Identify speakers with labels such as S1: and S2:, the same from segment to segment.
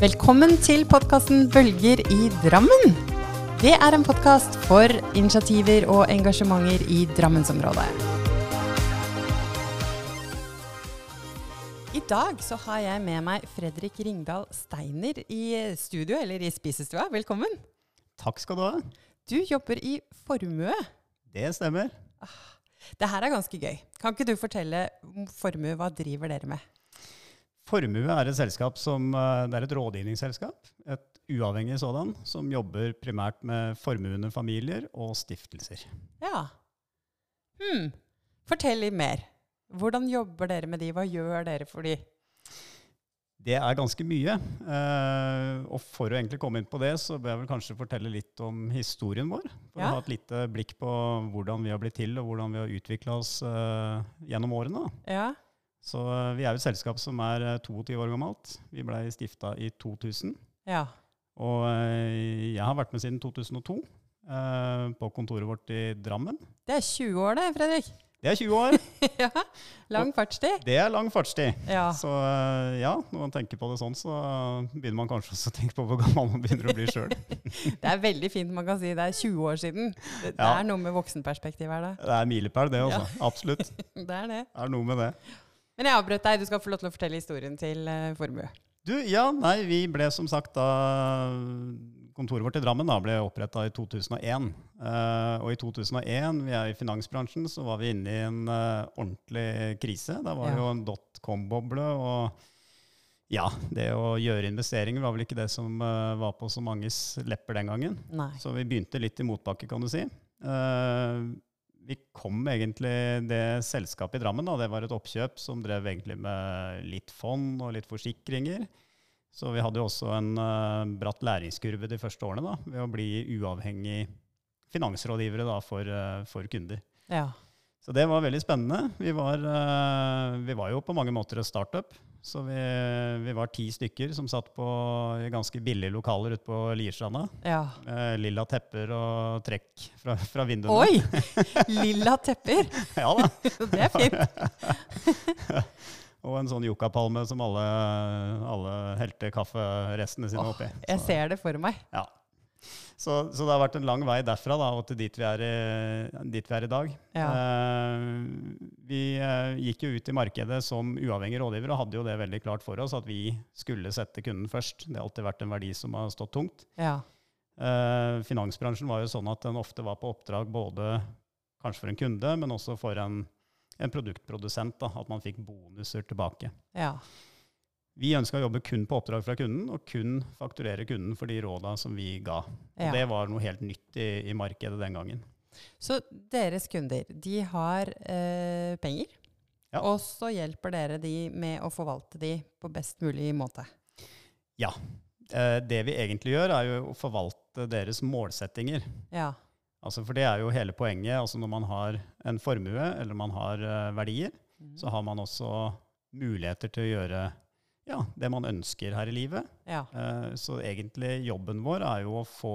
S1: Velkommen til podkasten Bølger i Drammen. Det er en podkast for initiativer og engasjementer i Drammensområdet. I dag så har jeg med meg Fredrik Ringdal Steiner i studio, eller i spisestua. Velkommen.
S2: Takk skal du ha.
S1: Du jobber i Formue.
S2: Det stemmer.
S1: Det her er ganske gøy. Kan ikke du fortelle om Formue, hva driver dere med?
S2: Formue er et selskap som eh, Det er et rådgivningsselskap. Et uavhengig sådan som jobber primært med formuende familier og stiftelser.
S1: Ja. Hmm. Fortell litt mer. Hvordan jobber dere med de? Hva gjør dere for de?
S2: Det er ganske mye. eh, Og for å egentlig komme inn på det, så bør jeg vel kanskje fortelle litt om historien vår. For
S1: Ja.
S2: å ha et lite blikk på hvordan vi har blitt til, og hvordan vi har utvikla oss eh, gjennom årene. da.
S1: Ja.
S2: Så eh, vi er jo et selskap som er eh, 22 år gammelt. Vi blei stifta i 2000.
S1: Ja.
S2: Og eh, jeg har vært med siden 2002 eh, på kontoret vårt i Drammen.
S1: Det er 20 år, det, Fredrik.
S2: Det er 20 år.
S1: ja. Lang fartstid.
S2: Det er lang fartstid.
S1: Ja.
S2: Så eh, ja, når man tenker på det sånn, så begynner man kanskje også å tenke på hvor gammel man begynner å bli sjøl.
S1: Det er veldig fint man kan si det er 20 år siden. Det, det
S2: Ja.
S1: er noe med voksenperspektiv her, da.
S2: Det er milepæl, det altså. Absolutt. Det
S1: Det er det.
S2: er noe med det.
S1: Men jeg avbrøt deg. Du skal få lov til å fortelle historien til eh, Formue.
S2: Du, ja, nei, vi ble som sagt da Kontoret vårt i Drammen da ble oppretta i 2001. Eh, og i 2001, vi er i finansbransjen, så var vi inne i en eh, ordentlig krise. Da var det
S1: Ja.
S2: jo en dotcom-boble. Og ja, det å gjøre investeringer var vel ikke det som eh, var på så manges lepper den gangen.
S1: Nei.
S2: Så vi begynte litt i motbakke, kan du si. Eh, vi kom egentlig det selskapet i Drammen, da, det var et oppkjøp som drev egentlig med litt fond og litt forsikringer. Så vi hadde jo også en eh, bratt læringskurve de første årene da, ved å bli uavhengig finansrådgivere da, for, eh, for kunder.
S1: Ja.
S2: Så det var veldig spennende. Vi var, eh, vi var jo på mange måter et startup. Så vi, vi var ti stykker som satt på i ganske billige lokaler ute på Lierstranda.
S1: ja.
S2: Eh, lilla tepper og trekk fra, fra vinduene.
S1: Oi! Lilla tepper.
S2: Ja da.
S1: Det er fint.
S2: Og en sånn yuccapalme som alle, alle helte kafferestene sine oppi.
S1: Jeg
S2: Så-
S1: ser det for meg.
S2: Ja. Så, så det har vært en lang vei derfra da, og til dit vi er i, dit vi er i dag.
S1: Ja.
S2: Eh, vi eh, gikk jo ut i markedet som uavhengig rådgiver og hadde jo det veldig klart for oss at vi skulle sette kunden først. Det har alltid vært en verdi som har stått tungt.
S1: Ja.
S2: Eh, finansbransjen var jo sånn at den ofte var på oppdrag både kanskje for en kunde, men også for en, en produktprodusent. Da, at man fikk bonuser tilbake.
S1: Ja.
S2: Vi ønska å jobbe kun på oppdrag fra kunden, og kun fakturere kunden for de råda som vi ga. Og
S1: ja.
S2: Det var noe helt nytt i, i markedet den gangen.
S1: Så deres kunder, de har eh, penger,
S2: Ja.
S1: og så hjelper dere de med å forvalte de på best mulig måte.
S2: Eh, det vi egentlig gjør, er jo å forvalte deres målsettinger.
S1: Ja,
S2: Altså, for det er jo hele poenget. Altså når man har en formue, eller man har eh, verdier, så har man også muligheter til å gjøre ja, det man ønsker her i livet.
S1: ja,
S2: Eh, Så egentlig jobben vår er jo å få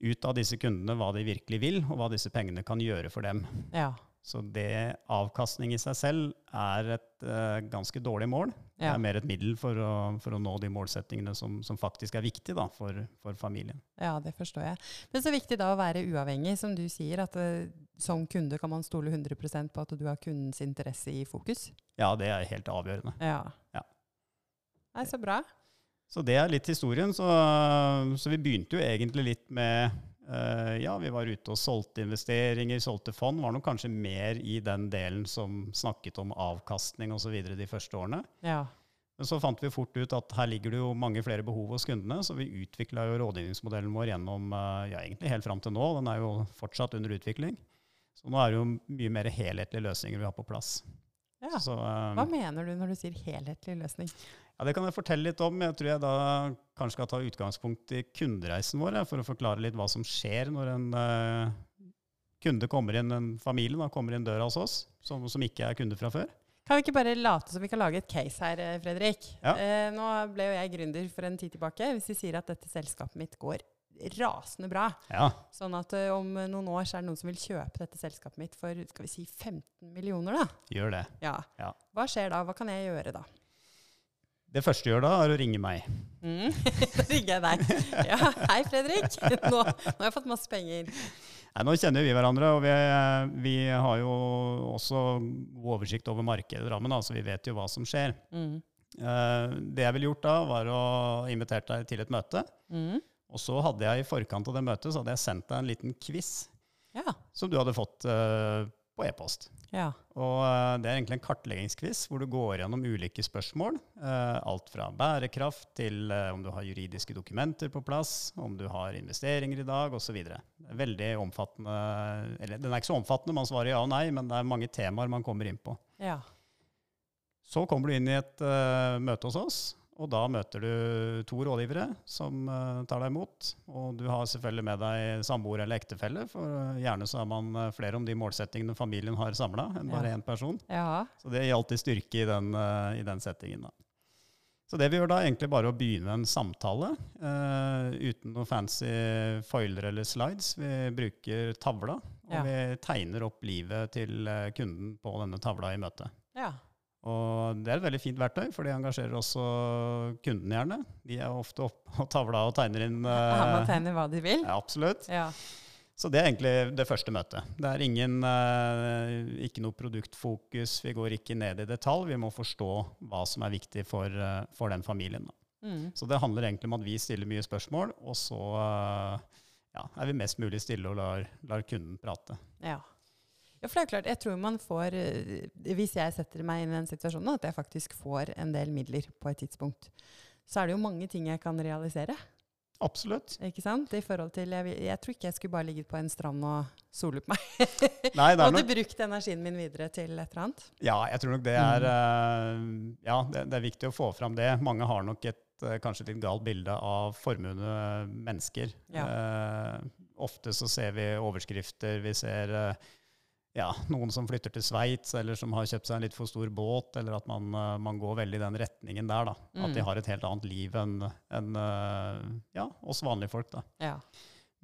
S2: ut av disse kundene hva de virkelig vil, og hva disse pengene kan gjøre for dem.
S1: ja,
S2: Så det avkastning i seg selv er et eh, ganske dårlig mål. Det
S1: ja.
S2: er mer et middel for å, for å nå de målsettingene som, som faktisk er viktige da, for, for familien.
S1: ja, det forstår jeg. Men så viktig da å være uavhengig, som du sier, at eh, som kunde kan man stole 100 på at du har kundens interesse i fokus.
S2: Ja, det er helt avgjørende.
S1: Ja.
S2: Ja.
S1: Nei, så bra.
S2: Så det er litt historien. Så, så vi begynte jo egentlig litt med eh, Ja, vi var ute og solgte investeringer, solgte fond. Var nok kanskje mer i den delen som snakket om avkastning osv. de første årene.
S1: Ja,
S2: Men så fant vi fort ut at her ligger det jo mange flere behov hos kundene, så vi utvikla jo rådgivningsmodellen vår gjennom eh, ja, egentlig helt fram til nå. Den er jo fortsatt under utvikling. Så nå er det jo mye mer helhetlige løsninger vi har på plass.
S1: ja.
S2: Så, eh,
S1: Hva mener du når du sier helhetlig løsning?
S2: ja, det kan jeg fortelle litt om. Jeg tror jeg da kanskje skal ta utgangspunkt i kundereisen vår, jeg, for å forklare litt hva som skjer når en eh, kunde kommer inn, en familie da, kommer inn døra hos oss, som, som ikke er kunde fra før.
S1: Kan vi ikke bare late som vi kan lage et case her, eh, Fredrik?
S2: Ja.
S1: Eh, nå ble jo jeg gründer for en tid tilbake. Hvis vi sier at dette selskapet mitt går rasende bra,
S2: Ja,
S1: sånn at eh, om noen år så er det noen som vil kjøpe dette selskapet mitt for skal vi si 15 millioner, da.
S2: gjør det.
S1: Ja.
S2: Ja.
S1: Hva skjer da? Hva kan jeg gjøre da?
S2: Det første du gjør da, er å ringe meg.
S1: Mm. Da ringer jeg deg. Ja, hei, Fredrik. Nå, nå har jeg fått masse penger.
S2: Nei, nå kjenner vi hverandre, og vi, vi har jo også god oversikt over markedet i Drammen, da, så vi vet jo hva som skjer.
S1: Mm.
S2: Eh, det jeg ville gjort da, var å invitere deg til et møte.
S1: Mm.
S2: Og så hadde jeg i forkant av det møtet så hadde jeg sendt deg en liten quiz
S1: Ja.
S2: som du hadde fått eh, på e-post.
S1: ja.
S2: Og eh, det er egentlig en kartleggingsquiz hvor du går gjennom ulike spørsmål. eh, alt fra bærekraft til eh, om du har juridiske dokumenter på plass, om du har investeringer i dag osv. Veldig omfattende Eller den er ikke så omfattende, man svarer ja og nei, men det er mange temaer man kommer inn på.
S1: ja.
S2: Så kommer du inn i et eh, møte hos oss, og da møter du to rådgivere som eh, tar deg imot. Og du har selvfølgelig med deg samboer eller ektefelle, for eh, gjerne så er man eh, flere om de målsettingene familien har samla, enn bare
S1: Ja.
S2: én person.
S1: Ja.
S2: Så det gir alltid styrke i den, eh, i den settingen. da. Så det vi gjør da, er egentlig bare å begynne en samtale eh, uten noen fancy foiler eller slides. Vi bruker tavla, og
S1: Ja.
S2: vi tegner opp livet til eh, kunden på denne tavla i møtet.
S1: ja.
S2: Og det er et veldig fint verktøy, for det engasjerer også kundene gjerne. De er ofte oppe på tavla og tegner inn
S1: Her må
S2: eh,
S1: tegne hva de vil.
S2: ja, Absolutt.
S1: Ja.
S2: Så det er egentlig det første møtet. Det er ingen, eh, ikke noe produktfokus, vi går ikke ned i detalj. Vi må forstå hva som er viktig for, eh, for den familien. da.
S1: Mm.
S2: Så det handler egentlig om at vi stiller mye spørsmål, og så eh, ja, er vi mest mulig stille og lar, lar kunden prate.
S1: Ja. ja, for det er jo klart, jeg tror man får, eh, hvis jeg setter meg inn i den situasjonen, at jeg faktisk får en del midler på et tidspunkt, så er det jo mange ting jeg kan realisere,
S2: Absolutt.
S1: ikke sant? I forhold til, jeg, vil- jeg tror ikke jeg skulle bare ligget på en strand og sole på meg.
S2: Nei,
S1: Jeg
S2: det er
S1: hadde
S2: nok
S1: brukt energien min videre til et eller annet.
S2: Ja, jeg tror nok det er eh, Ja, det, det er viktig å få fram det. Mange har nok et eh, kanskje et litt galt bilde av formuende mennesker. Eh, ofte så ser vi overskrifter, vi ser eh, ja, noen som flytter til Sveits, eller som har kjøpt seg en litt for stor båt, eller at man, eh, man går veldig i den retningen der. da. At
S1: Mm.
S2: de har et helt annet liv enn enn, eh, ja, oss vanlige folk. da.
S1: Ja.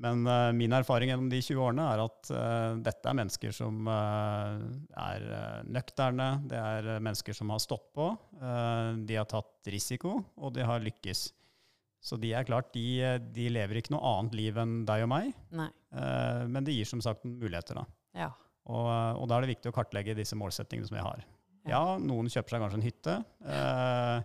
S2: Men eh, min erfaring gjennom de 20 årene er at eh, dette er mennesker som eh, er eh, nøkterne, det er eh, mennesker som har stått på, eh, de har tatt risiko, og de har lykkes. Så de er klart, de, eh, de lever ikke noe annet liv enn deg og meg,
S1: Nei.
S2: eh, men det gir som sagt noen muligheter. da.
S1: Ja.
S2: Og, eh, og da er det viktig å kartlegge disse målsettingene som vi har. Ja,
S1: Ja.
S2: noen kjøper seg kanskje en hytte, eh,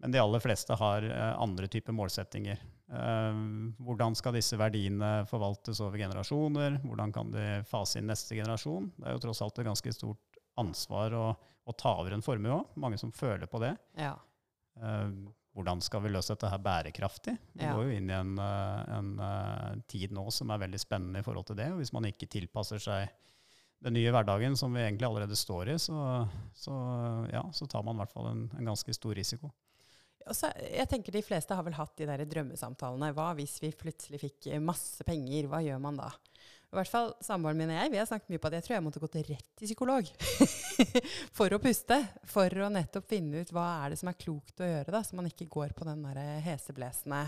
S2: men de aller fleste har eh, andre typer målsettinger. Eh, hvordan skal disse verdiene forvaltes over generasjoner? Hvordan kan de fase inn neste generasjon? Det er jo tross alt et ganske stort ansvar å, å ta over en formue òg. Mange som føler på det.
S1: Ja.
S2: Eh, hvordan skal vi løse dette her bærekraftig? Vi
S1: Ja.
S2: går jo inn i en, eh, en eh, tid nå som er veldig spennende i forhold til det. og Hvis man ikke tilpasser seg den nye hverdagen som vi egentlig allerede står i, så, så, eh, ja, så tar man i hvert fall en, en ganske stor risiko.
S1: Og så, jeg tenker De fleste har vel hatt de der drømmesamtalene. Hva hvis vi plutselig fikk eh, masse penger? Hva gjør man da? I hvert fall Samboeren min og jeg vi har snakket mye på at jeg tror jeg måtte gått rett til psykolog for å puste. For å nettopp finne ut hva er det som er klokt å gjøre, da, så man ikke går på den der heseblesende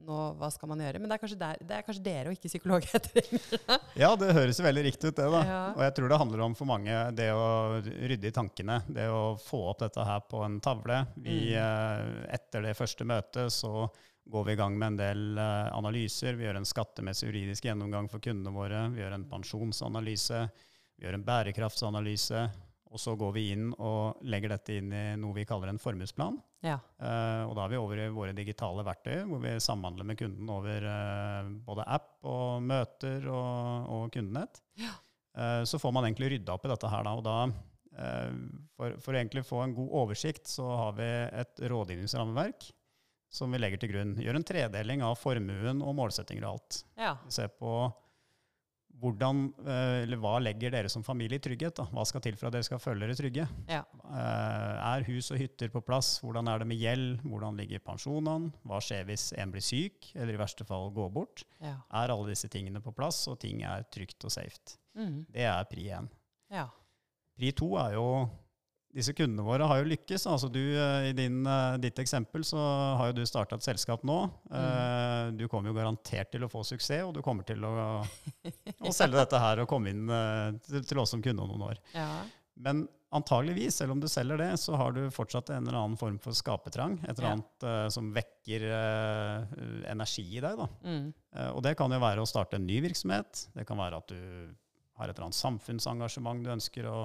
S1: nå, hva skal man gjøre? Men det er kanskje, der, det er kanskje dere og ikke psykolog jeg trenger.
S2: Ja, det høres jo veldig riktig ut, det. da.
S1: Ja.
S2: Og jeg tror det handler om for mange det å rydde i tankene. Det å få opp dette her på en tavle.
S1: Mm.
S2: Vi, eh, etter det første møtet så går vi i gang med en del eh, analyser. Vi gjør en skattemessig juridisk gjennomgang for kundene våre. Vi gjør en pensjonsanalyse. Vi gjør en bærekraftsanalyse. Og så går vi inn og legger dette inn i noe vi kaller en formuesplan.
S1: Ja.
S2: Eh, og da er vi over i våre digitale verktøy, hvor vi samhandler med kunden over eh, både app og møter og, og kundenett. Eh, så får man egentlig rydda opp i dette her da, og da eh, for, for å egentlig få en god oversikt, så har vi et rådgivningsrammeverk som vi legger til grunn. Gjør en tredeling av formuen og målsettinger og alt.
S1: ja.
S2: Vi ser på hvordan, eh, eller hva legger dere som familie i trygghet? Da? Hva skal til for at dere skal føle dere trygge?
S1: Ja.
S2: Eh, er hus og hytter på plass? Hvordan er det med gjeld? Hvordan ligger pensjonene? Hva skjer hvis en blir syk, eller i verste fall går bort?
S1: Ja.
S2: Er alle disse tingene på plass, og ting er trygt og safe?
S1: Mm.
S2: Det er pri én.
S1: ja.
S2: Pri to er jo disse kundene våre har jo lykkes. altså du eh, I din, eh, ditt eksempel så har jo du starta et selskap nå. Eh, Du kommer jo garantert til å få suksess, og du kommer til å, å selge dette her og komme inn eh, til- til oss som kunde om noen år.
S1: Ja.
S2: Men antageligvis, selv om du selger det, så har du fortsatt en eller annen form for skapertrang. Et eller
S1: Ja.
S2: annet eh, som vekker eh, energi i deg. Da.
S1: Mm.
S2: Eh, og det kan jo være å starte en ny virksomhet. Det kan være at du har et eller annet samfunnsengasjement du ønsker å,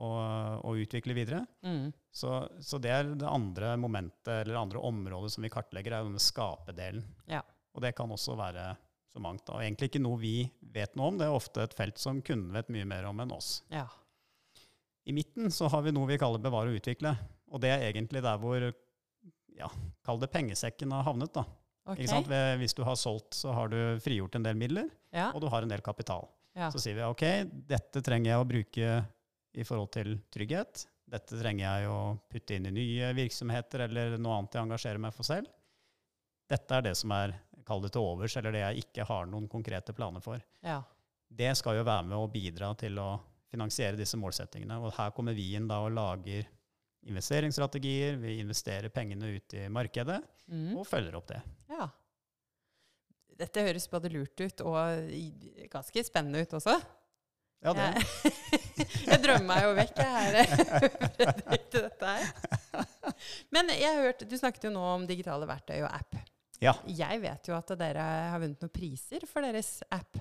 S2: å, å utvikle videre.
S1: Mm.
S2: Så, så det er det andre momentet, eller det andre området som vi kartlegger, er jo denne skapedelen.
S1: Ja.
S2: Og det kan også være så mangt. Da. Og egentlig ikke noe vi vet noe om. Det er ofte et felt som kunden vet mye mer om enn oss.
S1: Ja.
S2: I midten så har vi noe vi kaller bevare og utvikle. Og det er egentlig der hvor ja, kall det pengesekken har havnet. da.
S1: Ok.
S2: Ikke sant? Ved- Hvis du har solgt, så har du frigjort en del midler,
S1: Ja.
S2: og du har en del kapital.
S1: Ja.
S2: Så sier vi ok, dette trenger jeg å bruke i forhold til trygghet. Dette trenger jeg å putte inn i nye virksomheter eller noe annet jeg engasjerer meg for selv. Dette er det som er, kall det til overs, eller det jeg ikke har noen konkrete planer for
S1: ja.
S2: det skal jo være med å bidra til å finansiere disse målsettingene. Og her kommer vi inn da og lager investeringsstrategier, vi investerer pengene ut i markedet
S1: Mm.
S2: og følger opp det.
S1: ja. Dette høres både lurt ut og i- ganske spennende ut også.
S2: Ja, det.
S1: Jeg, jeg drømmer meg jo vekk, jeg her. Fredrik, til dette her. Men jeg har hørt, du snakket jo nå om digitale verktøy og app.
S2: Ja.
S1: Jeg vet jo at dere har vunnet noen priser for deres app.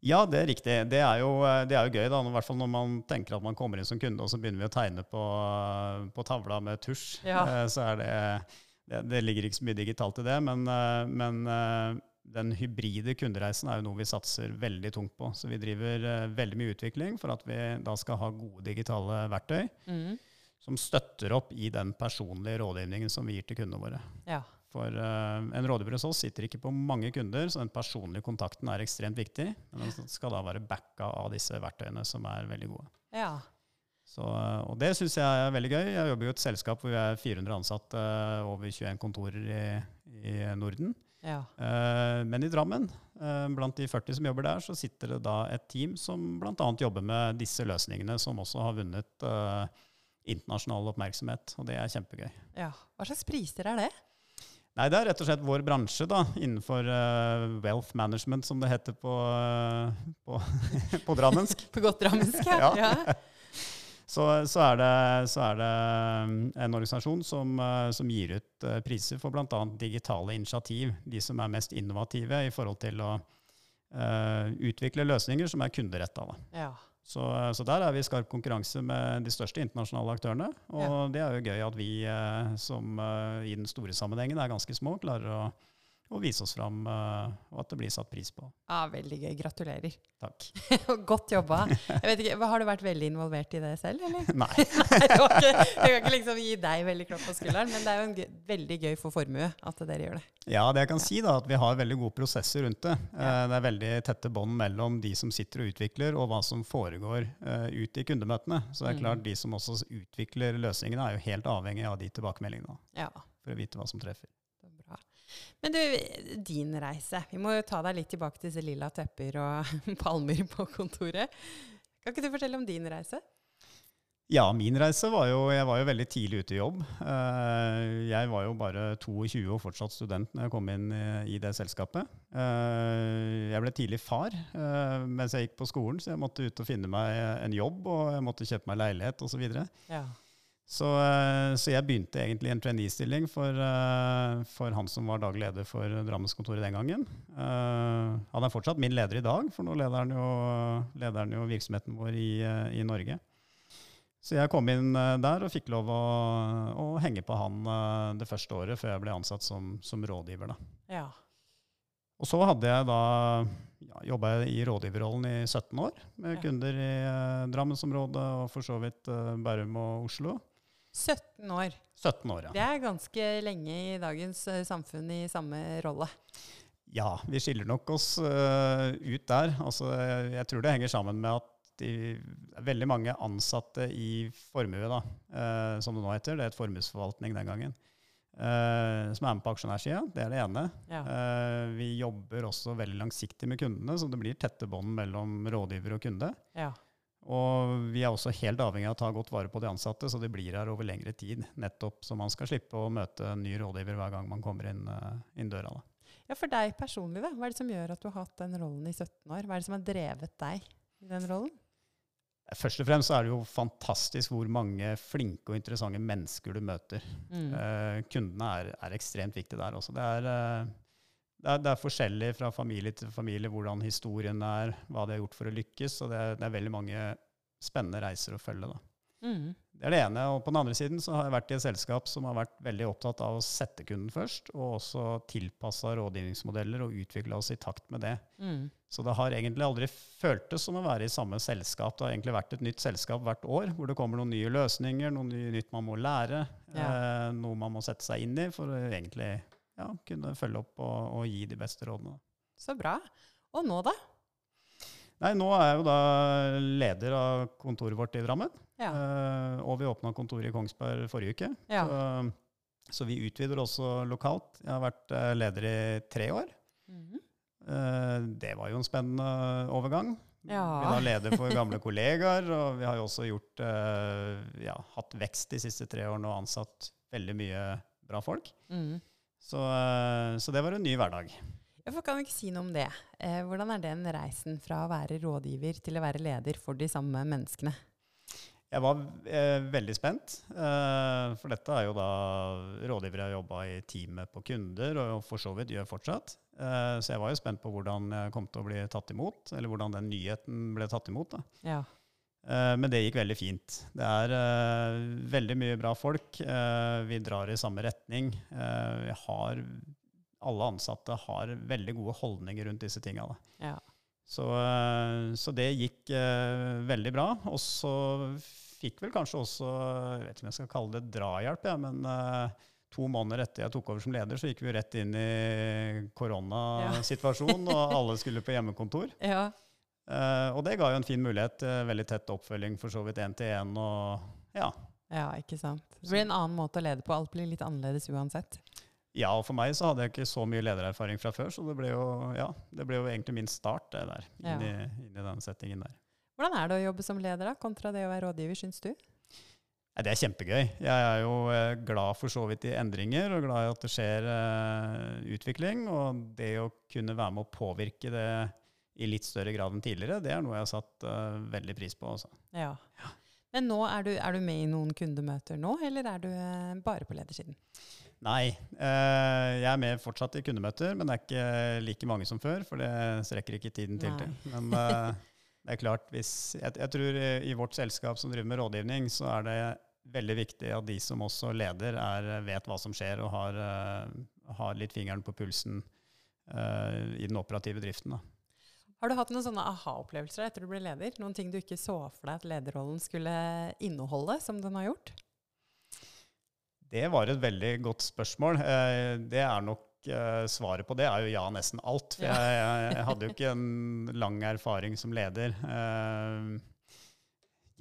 S2: Ja, det er riktig. Det er jo, eh, det er jo gøy, da. I hvert fall når man tenker at man kommer inn som kunde, og så begynner vi å tegne på, eh, på tavla med tusj.
S1: Ja.
S2: Eh, Så er det, det Det ligger ikke så mye digitalt i det, men, eh, men eh, den hybride kundereisen er jo noe vi satser veldig tungt på. Så vi driver eh, veldig mye utvikling for at vi da skal ha gode digitale verktøy
S1: Mm.
S2: som støtter opp i den personlige rådgivningen som vi gir til kundene våre.
S1: Ja.
S2: For eh, en rådgiver hos oss sitter ikke på mange kunder, så den personlige kontakten er ekstremt viktig. Men den skal da være backa av disse verktøyene, som er veldig gode.
S1: ja.
S2: Så, eh, og det syns jeg er veldig gøy. Jeg jobber jo i et selskap hvor vi er 400 ansatte eh, over 21 kontorer i, i Norden.
S1: Ja.
S2: Eh, men i Drammen, eh, blant de 40 som jobber der, så sitter det da et team som bl.a. jobber med disse løsningene, som også har vunnet eh, internasjonal oppmerksomhet. Og det er kjempegøy.
S1: ja. Hva slags priser er det?
S2: Nei, det er rett og slett vår bransje, da, innenfor eh, wealth management, som det heter på, eh, på, på drammensk.
S1: På godt drammensk?
S2: Ja.
S1: ja.
S2: Så, så, er det, så er det mm, en organisasjon som, eh, som gir ut eh, priser for bl.a. digitale initiativ. De som er mest innovative i forhold til å eh, utvikle løsninger som er kunderetta. da.
S1: Ja.
S2: Så, eh, så der er vi i skarp konkurranse med de største internasjonale aktørene. Og det er jo gøy at vi eh, som eh, i den store sammenhengen er ganske små, klarer å, å vise oss fram, eh, og at det blir satt pris på.
S1: ja. Veldig gøy. Gratulerer.
S2: Takk.
S1: Godt jobba. Jeg vet ikke, hva- Har du vært veldig involvert i det selv, eller?
S2: Nei.
S1: Nei, det var ikke, jeg kan ikke liksom gi deg veldig klapp på skulderen, men det er jo en gøy, veldig gøy for formue at dere gjør det.
S2: Ja, det jeg kan si da, at vi har veldig gode prosesser rundt det. Eh, Det er veldig tette bånd mellom de som sitter og utvikler, og hva som foregår eh, ute i kundemøtene. Så det er klart, de som også utvikler løsningene, er jo helt avhengig av de tilbakemeldingene
S1: Ja,
S2: for å vite hva som treffer.
S1: det er bra. Men du, din reise. Vi må jo ta deg litt tilbake til disse lilla tepper og palmer på kontoret. Kan ikke du fortelle om din reise?
S2: Ja, min reise var jo Jeg var jo veldig tidlig ute i jobb. Eh, Jeg var jo bare 22 og fortsatt student når jeg kom inn i- i det selskapet. Eh, Jeg ble tidlig far eh, mens jeg gikk på skolen, så jeg måtte ut og finne meg en jobb, og jeg måtte kjøpe meg leilighet osv.
S1: Ja.
S2: Så, eh, så jeg begynte egentlig i en trainee-stilling for, eh, for han som var daglig leder for Drammenskontoret den gangen. Eh, Han er fortsatt min leder i dag, for nå leder han jo, leder han jo virksomheten vår i, eh, i Norge. Så jeg kom inn eh, der og fikk lov å, å henge på han eh, det første året før jeg ble ansatt som, som rådgiver. Da.
S1: Ja.
S2: Og så hadde jeg da ja, jobba i rådgiverrollen i 17 år, med
S1: Ja.
S2: kunder i eh, Drammensområdet og for så vidt eh, Bærum og Oslo.
S1: 17 år.
S2: 17 år, ja.
S1: Det er ganske lenge i dagens eh, samfunn i samme rolle.
S2: Ja, vi skiller nok oss eh, ut der. Altså, jeg, jeg tror det henger sammen med at de, det er veldig mange ansatte i formue, da, eh, som det nå heter, det er et formuesforvaltning den gangen, eh, som er med på aksjonærsida. Det er det ene.
S1: Ja.
S2: Eh, vi jobber også veldig langsiktig med kundene, så det blir tette bånd mellom rådgiver og kunde.
S1: Ja.
S2: Og vi er også helt avhengig av å ta godt vare på de ansatte, så de blir her over lengre tid. Nettopp så man skal slippe å møte en ny rådgiver hver gang man kommer inn, eh, inn døra. da.
S1: ja, for deg personlig, da. Hva er det som gjør at du har hatt den rollen i 17 år? Hva er det som har drevet deg i den rollen?
S2: Først og fremst så er det jo fantastisk hvor mange flinke og interessante mennesker du møter.
S1: Mm.
S2: Eh, kundene er, er ekstremt viktige der også. Det er, eh, det, er, det er forskjellig fra familie til familie hvordan historien er, hva de har gjort for å lykkes, og det er, det er veldig mange spennende reiser å følge. Da.
S1: Mm.
S2: Det er det ene. Og på den andre siden så har jeg vært i et selskap som har vært veldig opptatt av å sette kunden først, og også tilpassa rådgivningsmodeller og utvikla oss i takt med det.
S1: Mm.
S2: Så det har egentlig aldri føltes som å være i samme selskap. Det har egentlig vært et nytt selskap hvert år, hvor det kommer noen nye løsninger, noe ny- nytt man må lære, eh, noe man må sette seg inn i for å egentlig ja, kunne følge opp og, og gi de beste rådene.
S1: Så bra. Og nå, da?
S2: Nei, nå er jeg jo da leder av kontoret vårt i Drammen,
S1: Ja.
S2: eh, og vi åpna kontoret i Kongsberg forrige uke.
S1: ja.
S2: Så, så vi utvider også lokalt. Jeg har vært eh, leder i tre år.
S1: Mhm.
S2: Eh, Det var jo en spennende overgang.
S1: Ja.
S2: Vi er da leder for gamle kollegaer, og vi har jo også gjort, eh, ja, hatt vekst de siste tre årene og ansatt veldig mye bra folk.
S1: Mm.
S2: Så, eh, så det var en ny hverdag.
S1: Jeg kan ikke si noe om det. Eh, hvordan er den reisen fra å være rådgiver til å være leder for de samme menneskene?
S2: Jeg var eh, veldig spent, eh, for dette er jo da rådgivere har jobba i teamet på kunder, og for så vidt gjør fortsatt. Eh, så jeg var jo spent på hvordan jeg kom til å bli tatt imot, eller hvordan den nyheten ble tatt imot. da.
S1: Ja.
S2: Eh, Men det gikk veldig fint. Det er eh, veldig mye bra folk. Eh, vi drar i samme retning. Eh, vi har, alle ansatte har veldig gode holdninger rundt disse tinga. da.
S1: Ja.
S2: Så, eh, så det gikk eh, veldig bra. Og så fikk vel kanskje også, jeg vet ikke om jeg skal kalle det drahjelp, ja, men eh, to måneder etter jeg tok over som leder, så gikk vi jo rett inn i koronasituasjonen, og alle skulle på hjemmekontor.
S1: ja.
S2: Eh, og det ga jo en fin mulighet til veldig tett oppfølging, for så vidt én til én. Og ja.
S1: Ja, ikke sant. Det blir en annen måte å lede på. Alt blir litt annerledes uansett.
S2: ja, og for meg så hadde jeg ikke så mye ledererfaring fra før, så det ble jo, ja, det ble jo egentlig min start, det der.
S1: Ja.
S2: Inn, i, inn i den settingen der.
S1: Hvordan er det å jobbe som leder, da, kontra det å være rådgiver, syns du?
S2: Nei, Det er kjempegøy. Jeg er jo eh, glad for så vidt i endringer, og glad i at det skjer eh, utvikling. Og det å kunne være med å påvirke det i litt større grad enn tidligere, det er noe jeg har satt eh, veldig pris på. Altså.
S1: Ja. Men nå er du, er du med i noen kundemøter nå, eller er du eh, bare på ledersiden?
S2: Nei. Eh, jeg er med fortsatt i kundemøter, men det er ikke like mange som før, for det strekker ikke tiden til
S1: Nei.
S2: til. Men eh, det er klart, hvis, jeg, jeg tror eh, i i vårt selskap som driver med rådgivning, så er det veldig viktig at de som også leder, er, eh, vet hva som skjer og har, eh, har litt fingeren på pulsen eh, i den operative driften. Da.
S1: Har du hatt noen sånne aha-opplevelser etter du ble leder? Noen ting du ikke så for deg at lederrollen skulle inneholde, som den har gjort?
S2: Det var et veldig godt spørsmål. Eh, Det er nok eh, Svaret på det er jo ja, nesten alt. For
S1: Ja.
S2: jeg, jeg, jeg hadde jo ikke en lang erfaring som leder. Eh,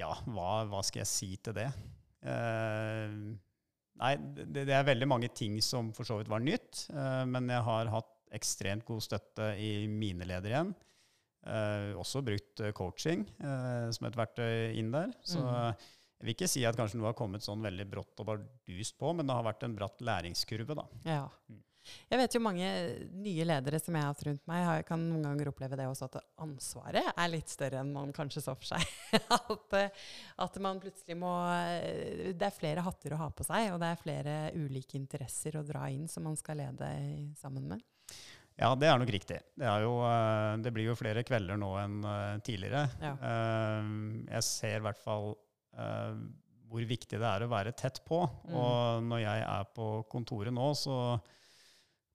S2: Ja, hva, hva skal jeg si til det? Eh, Nei, det, det er veldig mange ting som for så vidt var nytt, eh, men jeg har hatt ekstremt god støtte i mine ledere igjen. Eh, også brukt eh, coaching eh, som et verktøy inn der. Så
S1: Mm.
S2: jeg vil ikke si at kanskje noe har kommet sånn veldig brått og bardust på, men det har vært en bratt læringskurve, da.
S1: Ja.
S2: Mm.
S1: Jeg vet jo mange nye ledere som jeg har hatt rundt meg, har, kan noen ganger oppleve det også, at ansvaret er litt større enn man kanskje så for seg. at, eh, at man plutselig må eh, Det er flere hatter å ha på seg, og det er flere ulike interesser å dra inn som man skal lede i- sammen med.
S2: Ja, det er nok riktig. Det, er jo, eh, det blir jo flere kvelder nå enn eh, tidligere.
S1: Ja.
S2: Eh, Jeg ser i hvert fall eh, hvor viktig det er å være tett på.
S1: Mm.
S2: Og når jeg er på kontoret nå, så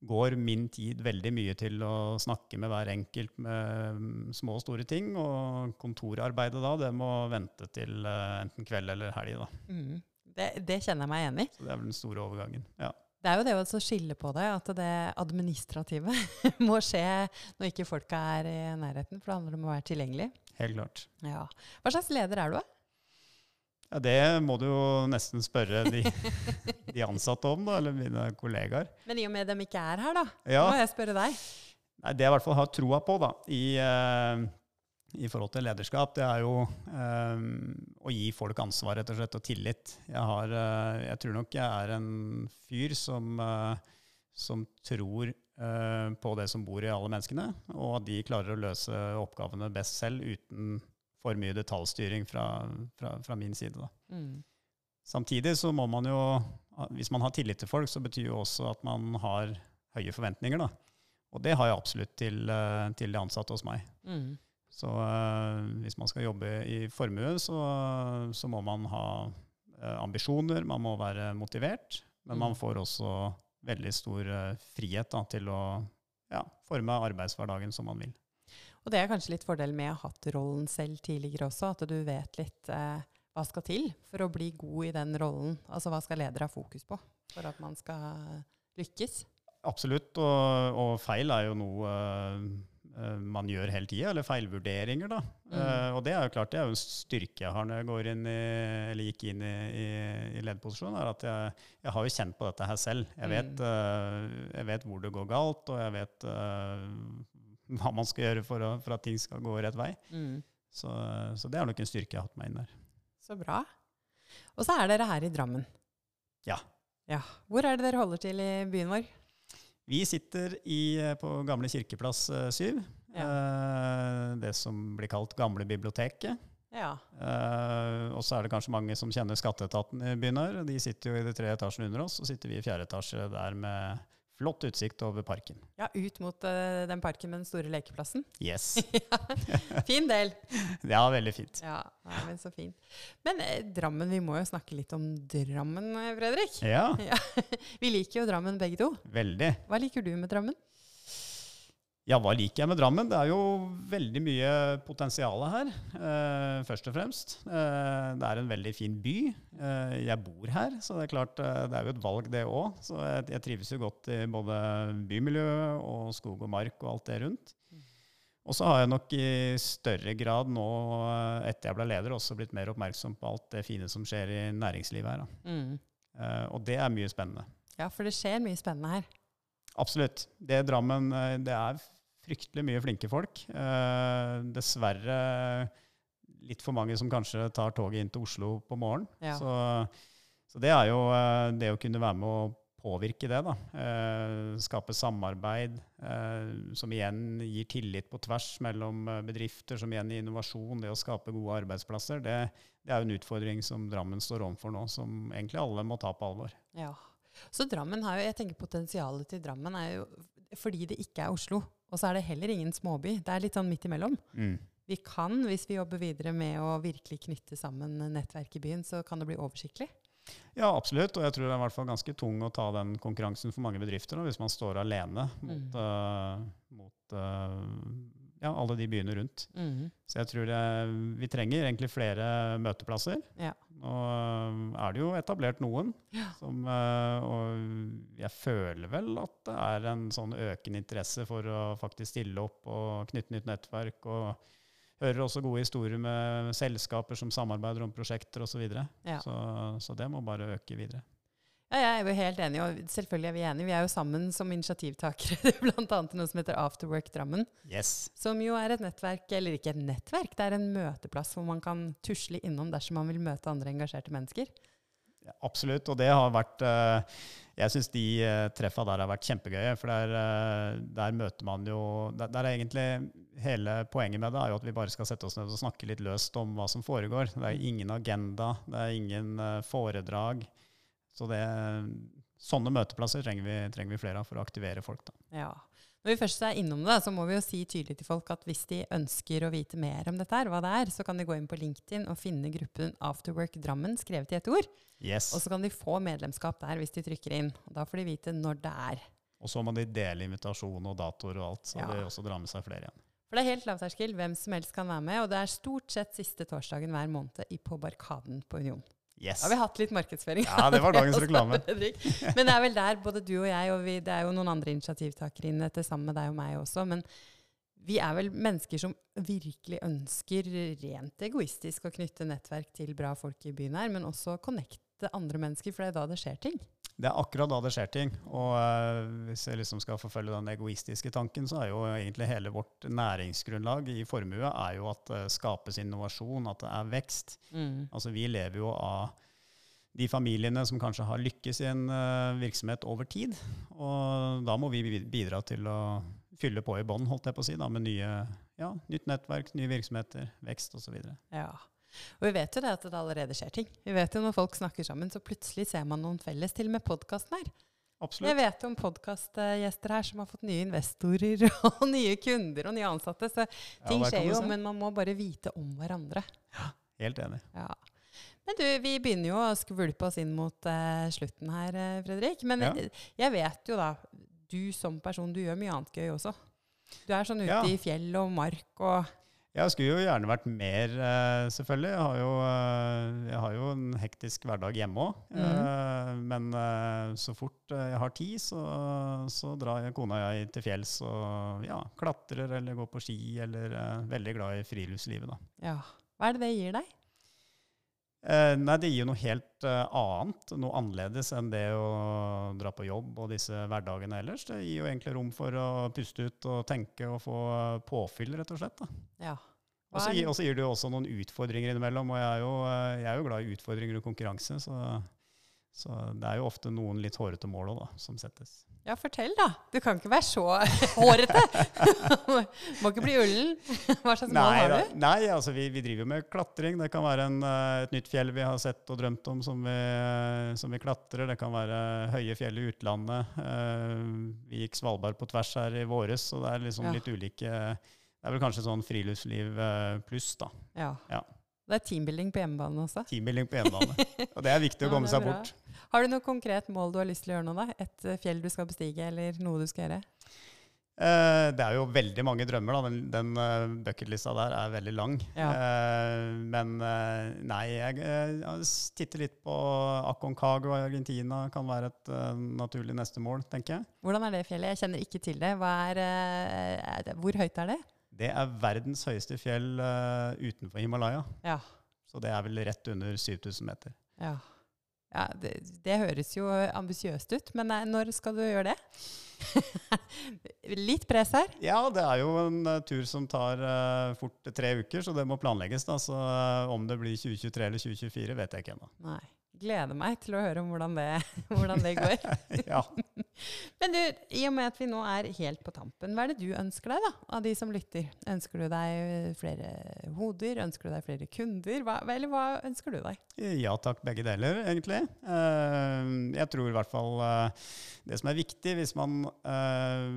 S2: går min tid veldig mye til å snakke med hver enkelt med mm, små og store ting. Og kontorarbeidet da, det må vente til eh, enten kveld eller helg. Da.
S1: Mm. Det, det kjenner jeg meg enig i.
S2: Så det er vel den store overgangen. Ja.
S1: Det er jo det å også skille på det, at det administrative må skje når ikke folka er i nærheten, for det handler om å være tilgjengelig.
S2: Helt klart.
S1: Ja. Hva slags leder er du, da?
S2: Ja, det må du jo nesten spørre de, de ansatte om, da, eller mine kollegaer.
S1: Men i og med dem ikke er her, da,
S2: Ja,
S1: må jeg spørre deg.
S2: nei, Det jeg i hvert fall har troa på da, i, eh, i forhold til lederskap, det er jo eh, å gi folk ansvar rett og slett, og tillit. Jeg, har, eh, jeg tror nok jeg er en fyr som, eh, som tror eh, på det som bor i alle menneskene, og at de klarer å løse oppgavene best selv uten for mye detaljstyring fra, fra, fra min side. Da.
S1: Mm.
S2: Samtidig så må man jo, hvis man har tillit til folk, så betyr jo også at man har høye forventninger. Da. Og det har jeg absolutt til, eh, til de ansatte hos meg.
S1: Mm.
S2: Så eh, hvis man skal jobbe i formue, så, så må man ha eh, ambisjoner, man må være motivert, men
S1: Mm.
S2: man får også veldig stor eh, frihet da, til å ja, forme arbeidshverdagen som man vil.
S1: Og det er kanskje litt fordel med å ha hatt rollen selv tidligere også, at du vet litt eh, hva skal til for å bli god i den rollen. Altså hva skal leder ha fokus på for at man skal lykkes?
S2: Absolutt, og, og feil er jo noe eh, man gjør hele tida, eller feilvurderinger, da. Eh, og det er jo klart, det er jo en styrke jeg har når jeg går inn i, eller gikk inn i, i, i lederposisjon, er at jeg, jeg har jo kjent på dette her selv. Jeg vet,
S1: Mm.
S2: eh, jeg vet hvor det går galt, og jeg vet eh, hva man skal gjøre for, å, for at ting skal gå rett vei.
S1: Mm.
S2: Så, så det er nok en styrke jeg har hatt meg inn der.
S1: Så bra. Og så er dere her i Drammen.
S2: Ja.
S1: ja. Hvor er det dere holder til i byen vår?
S2: Vi sitter i, eh, på Gamle kirkeplass 7, det som blir kalt Gamle biblioteket.
S1: Ja.
S2: Eh, og så er det kanskje mange som kjenner skatteetaten i byen her. De sitter jo i de tre etasjene under oss, og sitter vi i fjerde etasje der med flott utsikt over parken.
S1: ja, ut mot eh, den parken med den store lekeplassen.
S2: Yes.
S1: fin del!
S2: Det er veldig fint.
S1: Ja, nei, men så fint. Men eh, Drammen, vi må jo snakke litt om Drammen, eh, Fredrik.
S2: Ja,
S1: Vi liker jo Drammen begge to.
S2: veldig.
S1: Hva liker du med Drammen?
S2: Ja, hva liker jeg med Drammen? Det er jo veldig mye potensial her, eh, først og fremst. Eh, det er en veldig fin by. Eh, jeg bor her, så det er klart eh, det er jo et valg, det òg. Så jeg, jeg trives jo godt i både bymiljø og skog og mark og alt det rundt. Og så har jeg nok i større grad nå, eh, etter jeg ble leder, også blitt mer oppmerksom på alt det fine som skjer i næringslivet her. Da. Eh, og det er mye spennende.
S1: Ja, for det skjer mye spennende her.
S2: Absolutt. Det Drammen eh, Det er fryktelig mye flinke folk. Eh, dessverre litt for mange som kanskje tar toget inn til Oslo på morgenen.
S1: Ja.
S2: Så, så det er jo eh, det å kunne være med å påvirke det, da. Eh, skape samarbeid, eh, som igjen gir tillit på tvers mellom eh, bedrifter, som igjen gir innovasjon, det å skape gode arbeidsplasser. Det, det er jo en utfordring som Drammen står overfor nå, som egentlig alle må ta på alvor.
S1: Ja. Så Drammen har jo, jeg tenker potensialet til Drammen er jo fordi det ikke er Oslo. Og så er det heller ingen småby. Det er litt sånn midt imellom. Vi kan, hvis vi jobber videre med å virkelig knytte sammen nettverk i byen, så kan det bli oversiktlig.
S2: Ja, absolutt. Og jeg tror det er i hvert fall ganske tung å ta den konkurransen for mange bedrifter da, hvis man står alene mot, eh, mot eh, ja, alle de byene rundt. Så jeg tror det, vi trenger egentlig flere møteplasser.
S1: Ja.
S2: Nå eh, er det jo etablert noen.
S1: Ja.
S2: Som, eh, og jeg føler vel at det er en sånn økende interesse for å faktisk stille opp og knytte nytt nettverk. og Hører også gode historier med selskaper som samarbeider om prosjekter osv. Så, videre.
S1: Ja.
S2: så, så det må bare øke videre.
S1: Ja, jeg er jo helt enig, og selvfølgelig er vi enige. Vi er jo sammen som initiativtakere, blant annet noe som heter Afterwork Drammen.
S2: Yes.
S1: Som jo er et nettverk, eller ikke et nettverk, det er en møteplass hvor man kan tusle innom dersom man vil møte andre engasjerte mennesker.
S2: Absolutt, og det har vært eh, Jeg syns de eh, treffa der har vært kjempegøye, for der, eh, der møter man jo der, der er egentlig Hele poenget med det er jo at vi bare skal sette oss ned og snakke litt løst om hva som foregår. Det er ingen agenda, det er ingen eh, foredrag. Så det, sånne møteplasser trenger vi, trenger vi flere av for å aktivere folk. da.
S1: Ja. Når vi først er innom det, så må vi jo si tydelig til folk at hvis de ønsker å vite mer om dette, her, hva det er, så kan de gå inn på LinkedIn og finne gruppen Afterwork Drammen, skrevet i ett ord.
S2: Yes.
S1: Og så kan de få medlemskap der hvis de trykker inn. Og da får de vite når det er.
S2: Og så må de dele invitasjon og datoer og alt, så
S1: Ja.
S2: de også drar med seg flere igjen.
S1: For det er helt lavterskel, hvem som helst kan være med, og det er stort sett siste torsdagen hver måned i- på Barkaden på Union. Da
S2: Yes.
S1: har vi hatt litt markedsføring.
S2: Ja, det var dagens
S1: også,
S2: reklame.
S1: Fredrik. Men det er vel der både du og jeg, og vi, det er jo noen andre initiativtakere inne til sammen med deg og meg også, men vi er vel mennesker som virkelig ønsker rent egoistisk å knytte nettverk til bra folk i byen her, men også connecte andre mennesker, for det er da det skjer ting.
S2: Det er akkurat da det skjer ting. Og eh, hvis jeg liksom skal forfølge den egoistiske tanken, så er jo egentlig hele vårt næringsgrunnlag i formue er jo at det skapes innovasjon, at det er vekst. Altså vi lever jo av de familiene som kanskje har lykkes i en eh, virksomhet over tid. Og da må vi bi- bidra til å fylle på i bånn, holdt jeg på å si, da, med nye ja, nytt nettverk, nye virksomheter, vekst osv.
S1: Ja. Og vi vet jo det at det allerede skjer ting. Vi vet jo når folk snakker sammen, så plutselig ser man noen felles, til og med podkasten her. Jeg
S2: Absolutt.
S1: vet om podkastgjester her som har fått nye investorer og nye kunder og nye ansatte. Så ting
S2: der kan
S1: skjer
S2: du
S1: jo,
S2: se.
S1: men man må bare vite om hverandre.
S2: Helt enig.
S1: Ja. Men du, vi begynner jo å skvulpe oss inn mot eh, slutten her, eh, Fredrik. Men
S2: Ja.
S1: eh, jeg vet jo da, du som person, du gjør mye annet gøy også. Du er sånn ute
S2: Ja.
S1: i fjell og mark og
S2: Jeg skulle jo gjerne vært mer, eh, selvfølgelig. Jeg har jo, eh, jeg har jo en hektisk hverdag hjemme òg. Men eh, så fort eh, jeg har tid, så, så drar jeg, kona og jeg til fjells og ja, klatrer eller går på ski. Eller eh, veldig glad i friluftslivet, da.
S1: Ja. Hva er det det gir deg?
S2: Eh, Nei, det gir jo noe helt eh, annet, noe annerledes enn det å dra på jobb og disse hverdagene ellers. Det gir jo egentlig rom for å puste ut og tenke og få eh, påfyll, rett og slett. da.
S1: Ja.
S2: Og
S1: Hva
S2: så
S1: er-
S2: gi- og så gir det jo også noen utfordringer innimellom, og jeg er jo, eh, jeg er jo glad i utfordringer og konkurranse, så, så det er jo ofte noen litt hårete mål også, da, som settes.
S1: Ja, fortell da. Du kan ikke være så hårete. Må ikke bli ullen. Hva slags mål
S2: Nei,
S1: har
S2: da-
S1: du?
S2: nei altså vi, vi driver jo med klatring. Det kan være en, eh, et nytt fjell vi har sett og drømt om som vi, eh, som vi klatrer. Det kan være høye fjell i utlandet. Eh, Vi gikk Svalbard på tvers her i våres, så det er liksom
S1: Ja.
S2: litt ulike Det er vel kanskje sånn friluftsliv eh, pluss, da.
S1: Ja.
S2: Ja.
S1: Det er teambuilding på hjemmebane også.
S2: Teambuilding på enebane. Og det er viktig å
S1: Ja,
S2: komme
S1: det er
S2: seg
S1: bra.
S2: bort.
S1: Har du noe konkret mål du har lyst til å gjøre nå, da? Et eh, fjell du skal bestige, eller noe du skal gjøre?
S2: Eh, Det er jo veldig mange drømmer, da. Den, den eh, bucketlista der er veldig lang.
S1: Ja.
S2: Eh, Men eh, nei, jeg, eh, jeg s- titter litt på Aconcagua i Argentina. Kan være et eh, naturlig neste mål, tenker jeg.
S1: Hvordan er det fjellet? Jeg kjenner ikke til det. Hva er, eh, er det. Hvor høyt er det?
S2: Det er verdens høyeste fjell eh, utenfor Himalaya.
S1: Ja.
S2: Så det er vel rett under 7000 meter.
S1: Ja. ja det, det høres jo ambisiøst ut, men eh, når skal du gjøre det? Litt press her.
S2: Ja, det er jo en eh, tur som tar eh, fort tre uker, så det må planlegges. da. Så eh, om det blir 2023 eller 2024, vet jeg ikke ennå.
S1: Nei. Gleder meg til å høre om hvordan det, hvordan det går.
S2: Ja.
S1: Men du, i og med at vi nå er helt på tampen, hva er det du ønsker deg da, av de som lytter? Ønsker du deg flere hoder? Ønsker du deg flere kunder? Hva, eller hva ønsker du deg?
S2: Ja takk, begge deler, egentlig. Eh, Jeg tror i hvert fall eh, det som er viktig hvis man eh,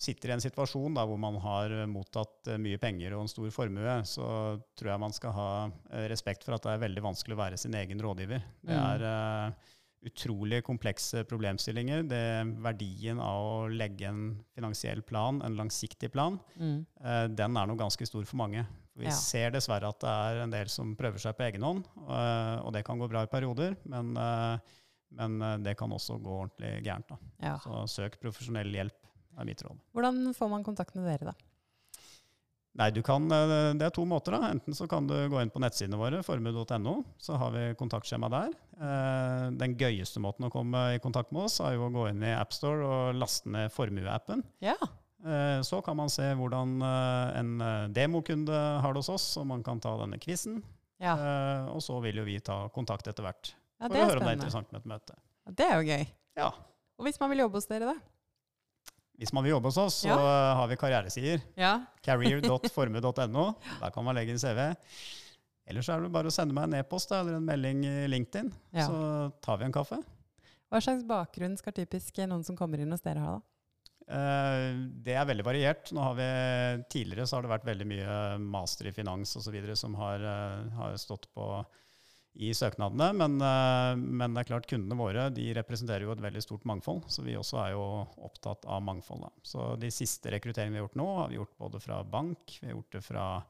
S2: sitter i en situasjon da, hvor man har mottatt eh, mye penger og en stor formue, så tror jeg man skal ha eh, respekt for at det er veldig vanskelig å være sin egen rådgiver. Det
S1: Mm.
S2: er eh, utrolig komplekse problemstillinger. Det verdien av å legge en finansiell plan, en langsiktig plan,
S1: Mm.
S2: Eh, den er nå ganske stor for mange. Vi
S1: Ja.
S2: ser dessverre at det er en del som prøver seg på egen hånd, eh, og det kan gå bra i perioder, men, eh, men eh, det kan også gå ordentlig gærent. Da.
S1: Ja.
S2: Så søk profesjonell hjelp, er mitt råd.
S1: Hvordan får man kontakt med dere da?
S2: Nei, du kan, eh, Det er to måter. da. Enten så kan du gå inn på nettsidene våre, formue.no. Så har vi kontaktskjema der. Eh, Den gøyeste måten å komme i kontakt med oss, er jo å gå inn i AppStore og laste ned formueappen.
S1: Ja,
S2: Eh, Så kan man se hvordan eh, en eh, demokunde har det hos oss, og man kan ta denne quizen.
S1: ja.
S2: Eh, Og så vil jo vi ta kontakt etter hvert.
S1: ja
S2: For
S1: det
S2: å
S1: er
S2: høre om det er
S1: spennende.
S2: interessant med et møte.
S1: Ja, Det er jo gøy.
S2: Ja.
S1: Og hvis man vil jobbe hos dere da?
S2: Hvis man vil jobbe hos oss, så
S1: Ja.
S2: eh, har vi karrieresider.
S1: Ja.
S2: Career.forme.no. Der kan man legge inn CV. Ellers er det bare å sende meg en e-post da, eller en melding i LinkedIn,
S1: Ja.
S2: så tar vi en kaffe.
S1: Hva slags bakgrunn skal typisk noen som kommer inn hos dere ha da?
S2: Eh, Det er veldig variert. Nå har vi, tidligere så har det vært veldig mye master i finans osv. som har, eh, har stått på i søknadene. Men, eh, men det er klart kundene våre de representerer jo et veldig stort mangfold, så vi også er jo opptatt av mangfold. Da. Så de siste rekrutteringene vi har gjort nå, har vi gjort både fra bank, vi har gjort det fra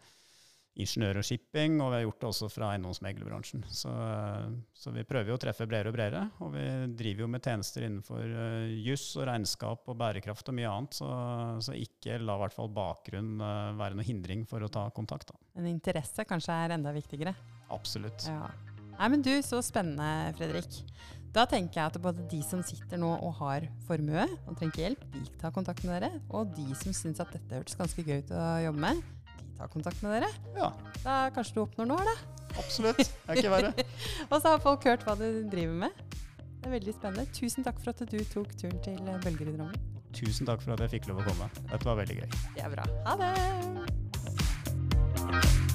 S2: ingeniør og shipping, og vi har gjort det også fra eiendomsmeglerbransjen. Så, eh, så vi prøver jo å treffe bredere og bredere, og vi driver jo med tjenester innenfor eh, juss og regnskap og bærekraft og mye annet, så, så ikke la i hvert fall bakgrunn eh, være noe hindring for å ta kontakt. Da.
S1: En interesse kanskje er enda viktigere.
S2: Absolutt.
S1: Ja. Nei, men du, så spennende, Fredrik. Da tenker jeg at både de som sitter nå og har formue og trenger hjelp, de tar kontakt med dere. Og de som syns at dette hørtes ganske gøy ut å jobbe med, de tar kontakt med dere.
S2: Ja,
S1: Da kanskje du oppnår noe her, da.
S2: absolutt. Det er ikke verre.
S1: Og så har folk hørt hva du driver med. Det er veldig spennende. Tusen takk for at du tok turen til Bølger i Drammen.
S2: Tusen takk for at jeg fikk lov å komme. Dette var veldig gøy.
S1: Det er bra. Ha det!